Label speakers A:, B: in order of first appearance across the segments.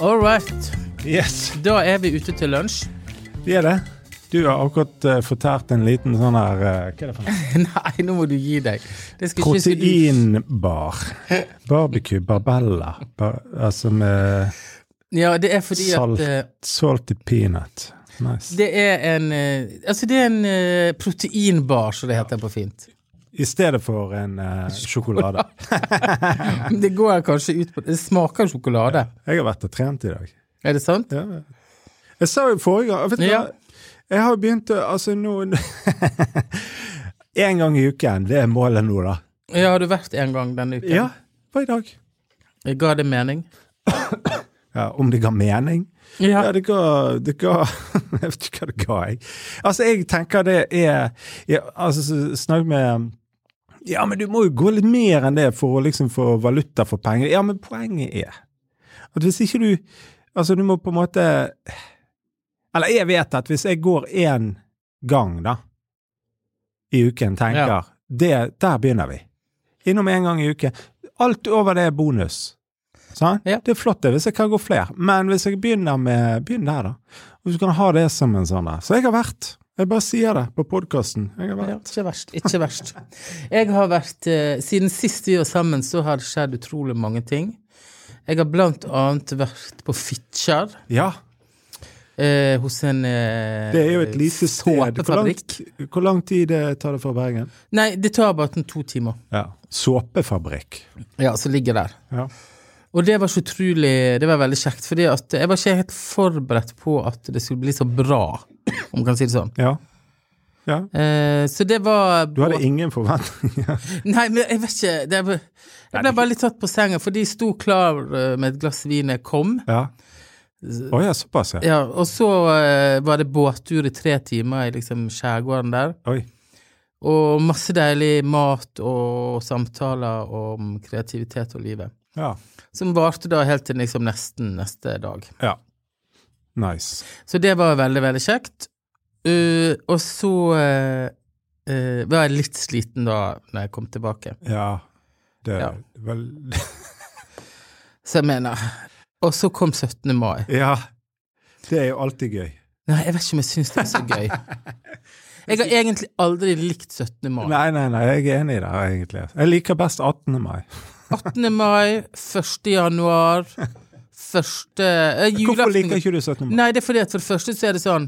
A: All right.
B: Yes,
A: Da er vi ute til lunsj.
B: vi er det. Du har akkurat eh, fortært en liten sånn her eh, Hva er det for noe?
A: Nei, nå må du gi deg. Det skal ikke- skal du-
B: Proteinbar. Barbecue barbella. Bar, altså med
A: Ja, det er fordi
B: Salt.
A: at eh,
B: salty peanut. Nice.
A: Det er en eh, Altså, det er en eh, proteinbar, som det heter på fint.
B: I stedet for en eh, sjokolade.
A: Det går kanskje ut på Det smaker sjokolade.
B: Jeg har vært og trent i dag.
A: Er det sant?
B: Ja. Jeg sa jo forrige gang vet du,
A: Ja.
B: hva? Jeg har jo begynt å Altså, nå En gang i uken. Det er målet nå, da.
A: Ja, har du vært en gang denne uken?
B: Ja. Hva i dag?
A: Jeg Ga det mening?
B: Ja, om det ga mening? Ja,
A: Ja.
B: det ga, det ga Jeg vet ikke hva det ga, jeg. Altså, jeg tenker det er ja, altså, så Snakk med Ja, men du må jo gå litt mer enn det for å liksom få valuta for penger. Ja, men poenget er at hvis ikke du Altså, du må på en måte Eller jeg vet at hvis jeg går én gang, da, i uken, tenker
A: Ja.
B: det, Der begynner vi. Innom én gang i uken. Alt over det er bonus. Sant?
A: Ja.
B: Det er flott det, hvis jeg kan gå flere. Men hvis jeg begynner med Begynn der, da. Og så kan jeg ha det som en sånn der. Så jeg har vært. Jeg bare sier det på podkasten. Jeg
A: ja.
B: har vært.
A: Ikke verst. Ikke verst. Jeg har vært eh, Siden sist vi var sammen, så har det skjedd utrolig mange ting. Jeg har blant annet vært på Fitjar.
B: Ja.
A: Eh, hos en eh,
B: Det er jo et lite sted. Hvor lang,
A: såpefabrikk.
B: hvor lang tid eh, tar det fra Bergen?
A: Nei, det tar bare en to timer.
B: Ja. Såpefabrikk.
A: Ja, som ligger der.
B: Ja.
A: Og det var så utrolig Det var veldig kjekt, fordi at jeg var ikke helt forberedt på at det skulle bli så bra, om man kan si det sånn.
B: ja. ja.
A: Eh, så det var
B: Du hadde ingen forventninger.
A: Nei, men jeg vet ikke det var, Jeg ble bare litt tatt på senga, for de sto klar eh, med et glass vin da jeg kom.
B: ja. Å ja, såpass, ja.
A: Ja, og så eh, var det båttur i tre timer i liksom skjærgården der.
B: Oi.
A: Og masse deilig mat og samtaler om kreativitet og livet.
B: Ja.
A: Som varte da helt til liksom nesten neste dag.
B: ja. Nice.
A: Så det var veldig, veldig kjekt. Eh, og så eh, eh, var jeg litt sliten da når jeg kom tilbake.
B: Ja. Det
A: Ja.
B: vel
A: Så jeg mener Og så kom 17. mai.
B: Ja. Det er jo alltid gøy.
A: Nei, jeg vet ikke om jeg syns det er så gøy. Jeg har egentlig aldri likt 17. mai.
B: Nei, nei, nei, jeg er enig i det, egentlig. Jeg liker best 18. mai.
A: 18. mai, 1. januar, første eh,
B: Hvorfor
A: Julaften.
B: liker ikke du 17. mai?
A: Nei, det er fordi at for det første så er det sånn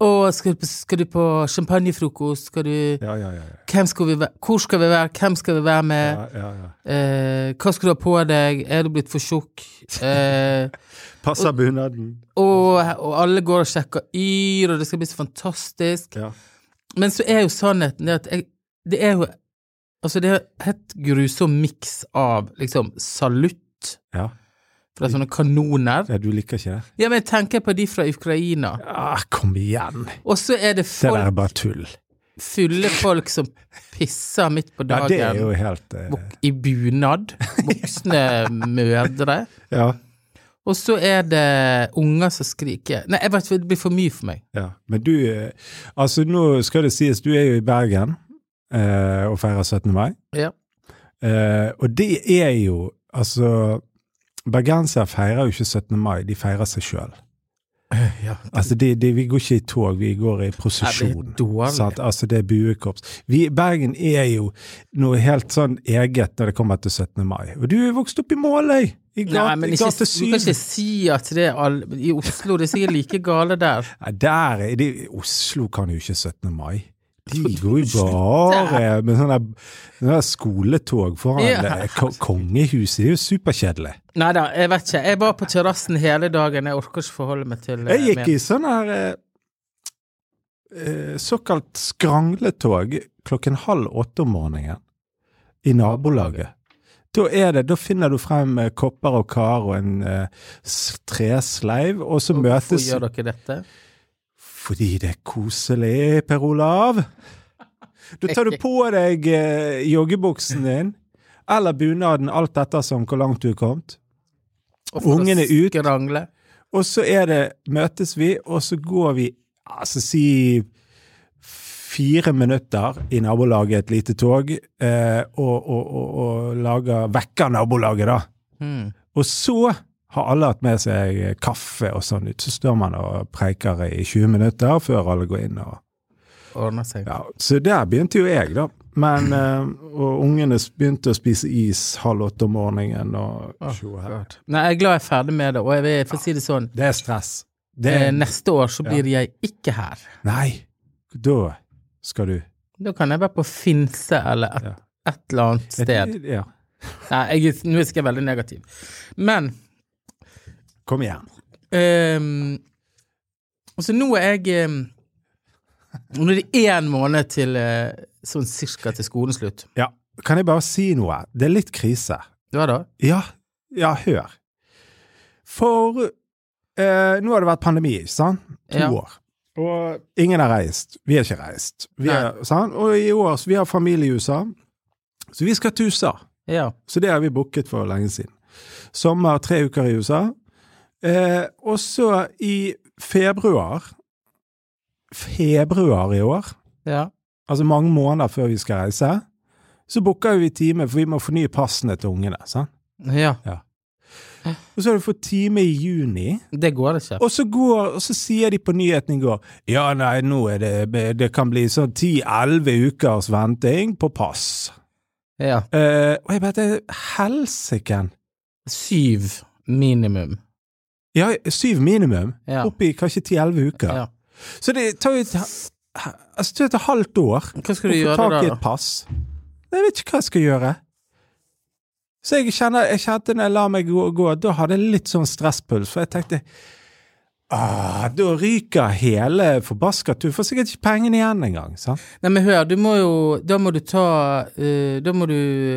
A: Å, skal, du på- skal du på champagnefrokost? Skal du
B: Ja, ja, ja. ja.
A: Hvem skal vi være? Hvor skal vi være? Hvem skal vi være med?
B: ja, ja, ja.
A: Eh, hva skal du ha på deg? Er du blitt for tjukk? Eh,
B: Passer bunaden.
A: og, og alle går og sjekker yr, og det skal bli så fantastisk.
B: Ja.
A: Men så er jo sannheten det at jeg, det er jo Altså, det er helt grusom miks av liksom salutt
B: ja.
A: fra sånne kanoner.
B: Ja, Du liker ikke det?
A: Ja, men jeg tenker på de fra Ukraina.
B: Ah, kom igjen!
A: Og så er det
B: Det der
A: folk,
B: er bare tull.
A: fulle folk som pisser midt på
B: Ja, det er jo
A: dagen.
B: helt eh,
A: bok- I bunad. Voksne mødre.
B: Ja.
A: Og så er det unger som skriker. Nei, jeg vet, ikke, det blir for mye for meg.
B: ja. Men du eh, Altså, nå skal det sies, du er jo i Bergen eh, og feirer 17. mai.
A: Ja.
B: Eh, og det er jo Altså, bergensere feirer jo ikke 17. mai, de feirer seg sjøl. Altså, de, de, vi går ikke i tog, vi går i prosesjon.
A: Nei, det er dårlig.
B: sant? Altså, det er buekorps. Vi, Bergen er jo noe helt sånn eget når det kommer til 17. mai. Og du er vokst opp i Måløy! I
A: Nei,
B: gate,
A: men
B: i
A: ikke,
B: gate
A: du kan
B: 7.
A: ikke si at det er all, i Oslo. Det er sikkert like gale der.
B: Nei, der er de, Oslo kan jo ikke 17. mai. De går jo bare med sånn sånne, sånne skoletog foran
A: Ja.
B: eh, ko- kongehuset. Det er jo superkjedelig.
A: Nei da, jeg vet ikke. Jeg var på terrassen hele dagen. Jeg orker ikke forholde meg til
B: Jeg gikk i sånn her eh, eh, såkalt skrangletog klokken halv åtte om morgenen i nabolaget. Da, er det, da finner du frem eh, kopper og kar og en eh, s- tresleiv, og så
A: Hvorfor
B: møtes
A: gjør dere dette?
B: Fordi det er koselig, Per Olav. Da tar du på deg eh, joggebuksen din, eller bunaden, alt ettersom hvor langt du er kommet.
A: Og for å
B: Ungene ut.
A: Skrangle.
B: Og så er det, møtes vi, og så går vi, altså si fire minutter i nabolaget et lite tog, eh, og, og, og, og lager, vekker nabolaget da.
A: Mm.
B: Og så har alle hatt med seg kaffe og sånn ut. Så står man og preiker i 20 minutter før alle går inn. og
A: Ordner seg.
B: ja, Så der begynte jo jeg, da. Men, eh, og ungene begynte å spise is halv åtte om morgenen. og
A: Åh,
B: tjo og hei.
A: God. Nei, jeg er glad jeg er ferdig med det, og jeg vil for å si det sånn,
B: Det er stress. Det
A: eh,
B: er,
A: neste år så blir jeg ikke her.
B: nei, da skal du
A: Da kan jeg være på Finse eller et, et eller annet sted.
B: Ja.
A: Nei, jeg, nå skal jeg være veldig negativ. Men
B: Kom igjen.
A: ehm, Altså, nå er jeg ehm, Nå er det én måned til eh, sånn cirka til skolens slutt.
B: Ja. Kan jeg bare si noe? Det er litt krise.
A: Du har da?
B: Ja, ja, hør. For eh, nå har det vært pandemi, sant? To
A: Ja.
B: år. Og ingen har reist. Vi har ikke reist. Vi er, sant? Og i år så vi har familie i USA, så vi skal til USA.
A: Ja.
B: Så det har vi booket for lenge siden. Sommer, tre uker i USA. Eh, og så i februar Februar i år,
A: ja.
B: altså mange måneder før vi skal reise, så booker vi time, for vi må fornye passene til ungene. sant?
A: Ja.
B: Og så har du fått time i juni,
A: Det går ikke.
B: og så, går, og så sier de på nyheten i går Ja, nei, nå er det Det kan bli sånn ti-elleve ukers venting på pass.
A: Ja.
B: Eh, og jeg bare Helsiken!
A: Syv minimum.
B: Ja, syv minimum.
A: Ja.
B: Opp i kanskje ti-elleve uker.
A: Ja.
B: Så det tar jo et, altså, det tar et halvt år
A: Hva skal du
B: å få
A: gjøre
B: tak
A: da?
B: i
A: da?
B: et pass. Jeg vet ikke hva jeg skal gjøre. Så jeg, kjenner, jeg kjente når jeg la meg gå, gå, da hadde jeg litt sånn stresspuls, for jeg tenkte ah, Da ryker hele forbaska tur. Får sikkert ikke pengene igjen engang. sant?
A: Nei, men hør, du må jo Da må du ta eh, Da må du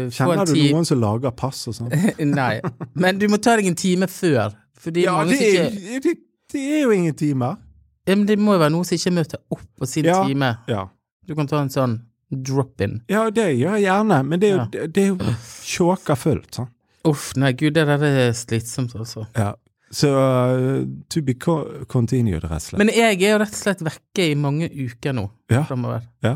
A: få
B: Kjenner
A: en
B: du
A: tid
B: noen som lager pass og sånn?
A: Nei. Men du må ta deg en time før. Fordi
B: Ja,
A: mange
B: det
A: som
B: er,
A: ikke
B: det, det er jo ingen timer.
A: Ja, men Det må jo være noen som ikke møter opp på sin
B: Ja.
A: time.
B: Ja.
A: Du kan ta en sånn drop-in.
B: ja, det gjør jeg gjerne, men det er jo,
A: Ja.
B: det, det er jo tjåka fullt. sant?
A: Uff, nei gud, det der er slitsomt, altså.
B: Ja. Så uh, to be co- continued, rett og slett.
A: Men jeg er jo rett og slett vekke i mange uker nå
B: Ja.
A: framover.
B: Ja.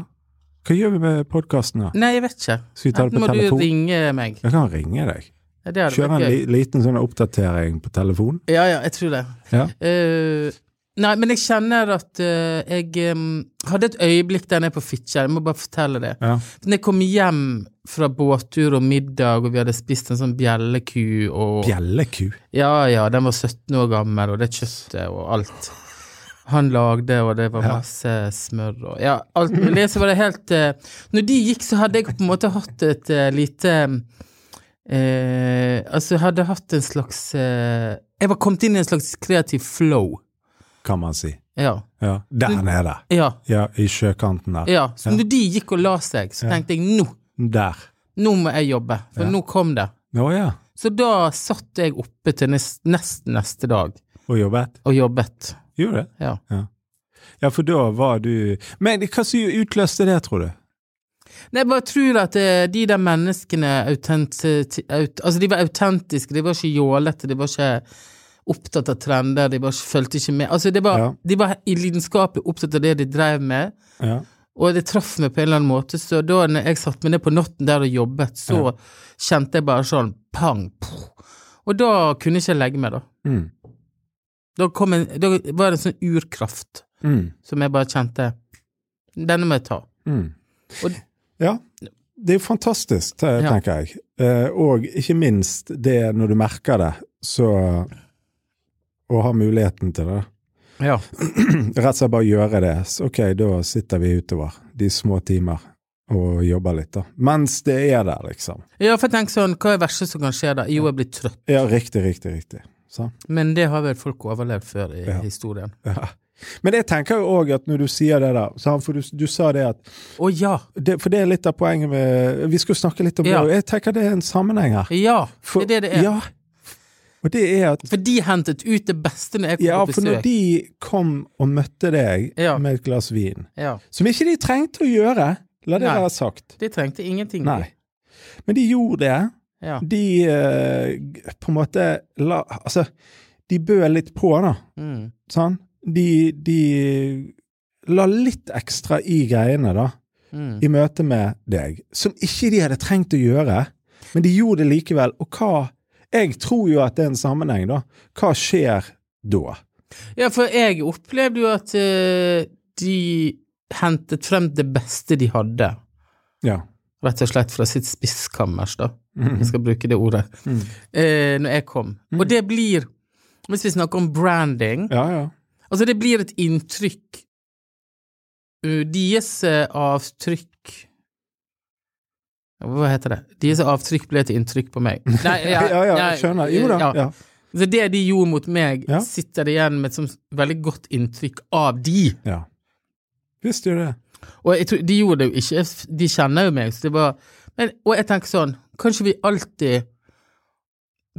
B: Hva gjør vi med podkasten, da?
A: Nei, jeg vet ikke.
B: Skal vi ta det
A: Enten
B: på
A: må du
B: telefon?
A: ringe meg.
B: Jeg kan ringe deg.
A: Ja, Det hadde
B: Kjøre en
A: vært gøy.
B: li liten sånn oppdatering på telefon.
A: Ja, ja, jeg tror det.
B: Ja.
A: Eh, nei, men jeg kjenner at eh, jeg em, hadde et øyeblikk der nede på Fitjar, jeg må bare fortelle det.
B: Ja.
A: Når jeg kom hjem fra båttur og middag, og vi hadde spist en sånn bjelleku og
B: Bjelleku.
A: Ja, ja, den var 17 år gammel, og det kjøttet og alt han lagde, og det var
B: Ja.
A: masse smør og Ja, alt mulig. Så var det helt eh, Når de gikk, så hadde jeg på en måte hatt et eh, lite eh, Altså, jeg hadde hatt en slags eh, Jeg var kommet inn i en slags kreativ flow.
B: kan man si.
A: Ja.
B: Ja. Der nede.
A: Ja.
B: Ja, i sjøkanten der.
A: Mm. ja. Så når de gikk og la seg, så tenkte jeg nå,
B: Der.
A: nå må jeg jobbe, for nå kom det.
B: Å ja.
A: Så da satt jeg oppe til nest, nest neste dag
B: Og jobbet.
A: og jobbet.
B: Gjorde det?
A: Ja.
B: Ja, for da var du Men hva som utløste det, tror du?
A: Nei, jeg bare tror at eh, de der menneskene autent, aut, Altså, de var autentiske, de var ikke jålete, de var ikke opptatt av trender, de var ikke, fulgte ikke med. Altså, det var,
B: Ja.
A: De var i lidenskapelig opptatt av det de drev med,
B: Ja.
A: og det traff meg på en eller annen måte, så da når jeg satte meg ned på natten der og jobbet, så kjente jeg bare sånn pang, poff. Og da kunne jeg ikke legge meg, da.
B: Mm.
A: Da, kom en, da var det en sånn urkraft
B: Mm.
A: som jeg bare kjente Denne må jeg ta.
B: Mm.
A: Og-
B: ja. Det er jo fantastisk, te-
A: Ja.
B: tenker jeg. Eh, og ikke minst det når du merker det, så Og har muligheten til det.
A: Ja.
B: Rett og slett bare gjøre det. Så ok, da sitter vi utover de små timer og jobber litt, da. Mens det er der, liksom.
A: ja, for jeg tenker sånn, hva er det verste som kan skje da? Jo, jeg blir trøtt.
B: Ja, riktig, riktig, riktig. Sånn.
A: Men det har vel folk overlevd før i
B: Ja.
A: historien.
B: Ja. Men jeg tenker jo òg at når du sier det der, sant, for du, du sa det at
A: Å ja!
B: det, For det er litt av poenget med Vi skal jo snakke litt om
A: Ja.
B: det, og jeg tenker det er en sammenheng her.
A: Ja!
B: For-
A: det er det det er.
B: Ja. Og det er at
A: For de hentet ut det beste når jeg kom
B: Ja,
A: på
B: for når
A: besøk.
B: de kom og møtte deg
A: Ja.
B: med et glass vin,
A: Ja.
B: som ikke de trengte å gjøre, la det
A: Nei.
B: være sagt,
A: De trengte ingenting.
B: nei, men de gjorde det,
A: Ja.
B: de eh, g- på en måte la Altså, de bød litt på, da,
A: Mm.
B: sånn. De, de la litt ekstra i greiene, da,
A: Mm.
B: i møte med deg, som ikke de hadde trengt å gjøre, men de gjorde det likevel, og hva Jeg tror jo at det er en sammenheng, da. Hva skjer da?
A: Ja, for jeg opplevde jo at eh, de hentet frem det beste de hadde,
B: Ja.
A: rett og slett fra sitt spisskammers, da.
B: Mhm.
A: Jeg skal bruke det ordet.
B: Mm.
A: Eh, når jeg kom. Og det blir, hvis vi snakker om branding,
B: Ja, ja.
A: altså det blir et inntrykk. Uh, Deres eh, avtrykk Hva heter det? Deres avtrykk ble et inntrykk på meg. Nei,
B: Ja, ja,
A: nei,
B: jeg skjønner. Jo da.
A: ja.
B: Ja.
A: Så det de gjorde mot meg,
B: Ja.
A: sitter igjen med som veldig godt inntrykk av de.
B: ja. Visste jo det.
A: Og jeg tror, de gjorde det jo ikke, jeg f- de kjenner jo meg, så det var men, Og jeg tenker sånn, kanskje vi alltid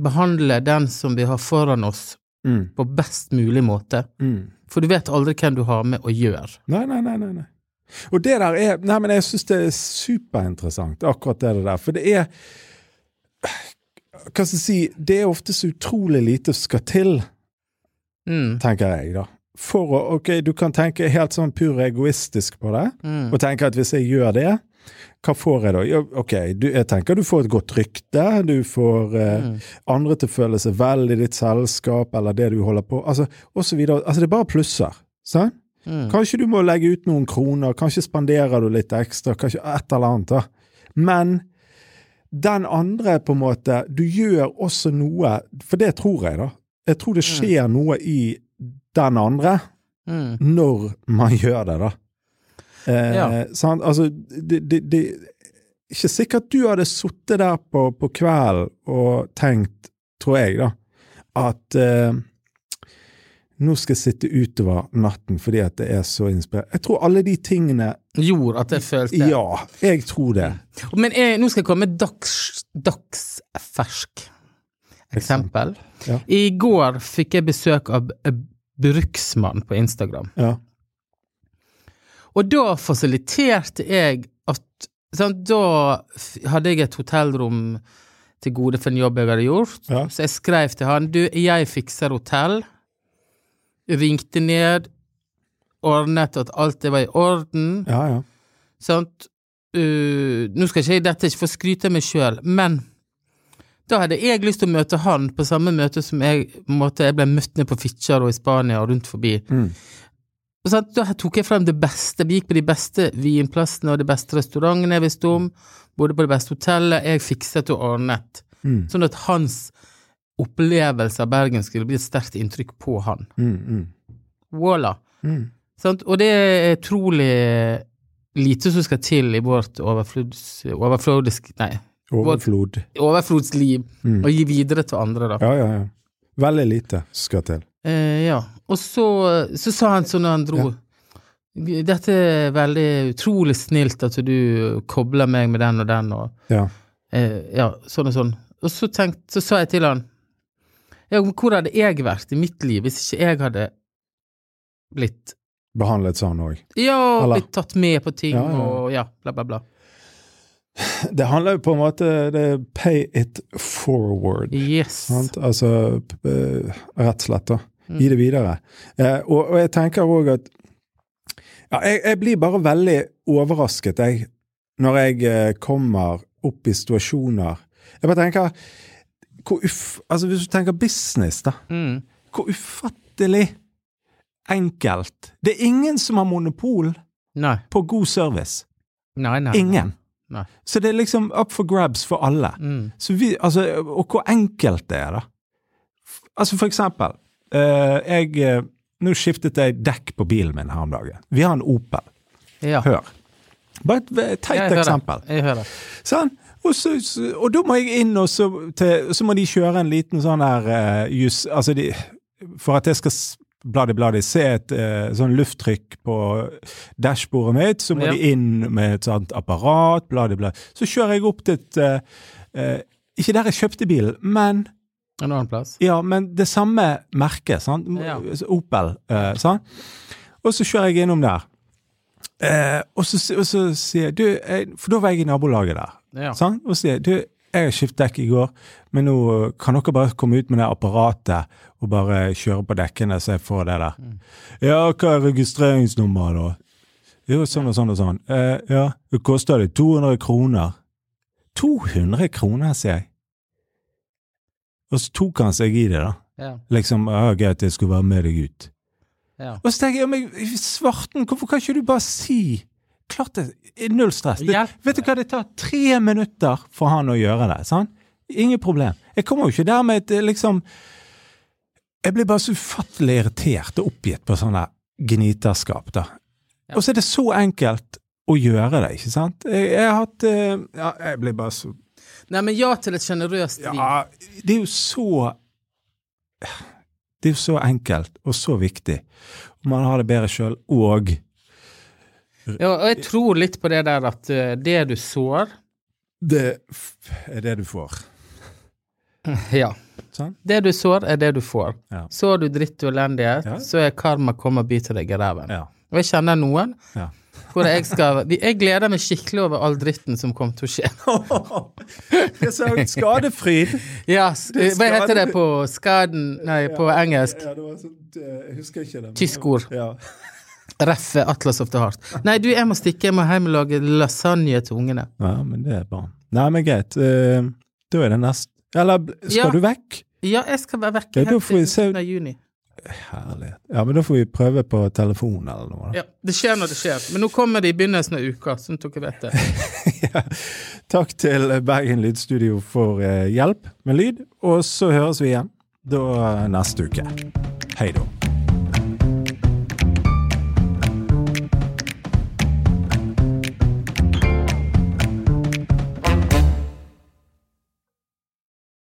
A: behandler den som vi har foran oss,
B: Mm.
A: på best mulig måte.
B: Mm.
A: For du vet aldri hvem du har med å gjøre.
B: Nei, nei, nei, nei, nei. Og det der er Nei, men jeg syns det er superinteressant, akkurat det der. For det er Hva skal jeg si Det er ofte så utrolig lite som skal til,
A: Mm.
B: tenker jeg, da. For å Ok, du kan tenke helt sånn pur egoistisk på det,
A: Mm.
B: og tenke at hvis jeg gjør det, hva får jeg da? Ja, ok, du, jeg tenker du får et godt rykte, du får eh,
A: Mm.
B: andre til å føle seg vel i ditt selskap, eller det du holder på Altså, og så videre. Altså, det er bare plusser. Sant?
A: Mm.
B: Kanskje du må legge ut noen kroner, kanskje spanderer du litt ekstra, kanskje et eller annet. da. Men den andre, på en måte, du gjør også noe, for det tror jeg, da. Jeg tror det skjer noe i den andre
A: Mm.
B: når man gjør det, da. Eh,
A: Ja.
B: sant? Altså, det, det, det Ikke sikkert du hadde sittet der på, på kvelden og tenkt, tror jeg, da, at eh, nå skal jeg sitte utover natten fordi at det er så inspirerende. Jeg tror alle de tingene
A: Gjorde at jeg følte
B: Ja, jeg tror det.
A: Men jeg, nå skal jeg komme med dags, dagsfersk eksempel.
B: Ja.
A: I går fikk jeg besøk av eh, Bruksmann på Instagram.
B: Ja.
A: Og da fasiliterte jeg at sant, Da f- hadde jeg et hotellrom til gode for en jobb jeg hadde gjort,
B: Ja.
A: så jeg skrev til han du, jeg fikser hotell. Ringte ned, ordnet at alt det var i orden.
B: Ja, ja.
A: Sant? Uh, nå skal ikke jeg dette er ikke for å skryte av meg sjøl, men da hadde jeg lyst til å møte han på samme møte som jeg, på en måte, jeg ble møtt ned på Fitjar og i Spania og rundt forbi.
B: Mm.
A: Og sant, da tok jeg frem det beste. Vi gikk på de beste vinplassene og de beste restaurantene jeg visste om. Både på det beste hotellet. Jeg fikset og ordnet.
B: Mm.
A: Sånn at hans opplevelse av Bergen skulle bli et sterkt inntrykk på han.
B: Mm, mm,
A: Voilà.
B: mm.
A: Sant? Og det er utrolig lite som skal til i vårt overflods, overflodisk, nei,
B: Overflod.
A: overflodsliv
B: Mm.
A: å gi videre til andre, da.
B: Ja, ja, ja. Veldig lite skal til.
A: Eh, ja. Og så, så sa han sånn når han dro Dette er veldig utrolig snilt at du kobler meg med den og den og
B: Ja.
A: eh, ja, sånn og sånn. Og så, tenkt, så sa jeg til han ja, men hvor hadde jeg vært i mitt liv hvis ikke jeg hadde blitt
B: Behandlet sånn òg.
A: Ja,
B: Eller-
A: blitt tatt med på ting
B: Ja, ja, ja.
A: og ja, bla, bla, bla.
B: Det handler jo på en måte det er Pay it forward.
A: Yes.
B: Sant? Altså p- eh, rett og slett, da.
A: Mm.
B: Gi det videre. Eh, og, og jeg tenker òg at ja, jeg, jeg blir bare veldig overrasket, jeg, når jeg eh, kommer opp i situasjoner Jeg bare tenker hvor uff, altså Hvis du tenker business, da.
A: Mm.
B: Hvor ufattelig enkelt. Det er ingen som har monopol
A: Nei.
B: på god service.
A: Nei, nei.
B: Ingen.
A: Nei.
B: Så det er liksom up for grabs for alle.
A: Mm.
B: Så vi, altså, og hvor enkelt det er, da. F- Altså, for eksempel eh, jeg, eh, Nå skiftet jeg dekk på bilen min her om dagen. Vi har en Opel.
A: Ja.
B: Hør. Bare et ve-
A: Jeg
B: teit
A: hører.
B: eksempel.
A: Jeg hører.
B: Sånn. Og, så, så, og da må jeg inn, og så, til, så må de kjøre en liten sånn her eh, jus... Altså, de, for at jeg skal s- bladi-bladi se et eh, sånn lufttrykk på dashbordet mitt, så må
A: Ja.
B: de inn med et sånt apparat, bladi-bladi. Så kjører jeg opp til et eh, eh, Ikke der jeg kjøpte bilen, men
A: En annen plass.
B: ja, men det samme merket, sant?
A: Ja.
B: Opel, eh, sant? Og så kjører jeg innom der. Eh, og, så, og så sier jeg, du, jeg For da var jeg i nabolaget der.
A: Ja.
B: Sant? Og sier du, jeg har skiftet dekk i går, men nå eh, kan dere bare komme ut med det apparatet og bare kjøre på dekkene, så jeg får det der. Ja, hva er registreringsnummeret, da? Jo, sånn og sånn og sånn. Eh, ja, det koster det 200 kroner. 200 kroner, sier jeg. Og så tok han seg i det, da.
A: Ja.
B: Liksom ja, 'Greit, jeg skulle være med deg ut'.
A: ja.
B: Og så tenker jeg, ja, men svarten, hvorfor kan ikke du bare si Klart det er null stress. Det,
A: Hjelp.
B: Vet du hva, det tar tre minutter for han å gjøre det. sant? Ingen problem. Jeg kommer jo ikke der med et eh, liksom Jeg blir bare så ufattelig irritert og oppgitt på sånn der gniterskap, da.
A: Ja.
B: Og så er det så enkelt å gjøre det, ikke sant? Jeg, jeg har hatt eh, Ja, jeg blir bare så
A: Nei, men ja til et sjenerøst liv.
B: ja, det er jo så Det er jo så enkelt og så viktig. Og man har det bedre sjøl, og
A: Ja, og jeg tror litt på det der at eh, det du sår
B: det f- er det du får.
A: Ja.
B: Sånn?
A: Det du sår, er det du får.
B: Ja.
A: Sår du dritt og elendighet,
B: Ja.
A: så er karma kommer og biter deg i ræven.
B: Ja.
A: Og jeg kjenner noen
B: Ja.
A: hvor jeg skal de- Jeg gleder meg skikkelig over all dritten som kommer til å skje.
B: Jeg sa skadefryd.
A: Ja, s- hva heter det på skaden Nei, på engelsk.
B: Ja, det var sånt, jeg husker ikke det.
A: Tysk ord.
B: Ja.
A: Reffe Atlas of the Heart. Nei, du, jeg må stikke. Jeg må hjem og lage lasagne til ungene.
B: men det er bra. Nei, men greit. eh, Da er det neste. Eller bl- skal
A: Ja.
B: du vekk?
A: Ja, jeg skal være vekk
B: Ja, da
A: helt
B: får
A: til
B: vi se.
A: slutten av juni.
B: Herlighet. Ja, men da får vi prøve på telefon eller noe. da.
A: Ja, det skjer når det skjer. Men nå kommer det i begynnelsen av uka, sånn at dere vet det.
B: Takk til Bergen Lydstudio for eh, hjelp med lyd, og så høres vi igjen da eh, neste uke. Hei da.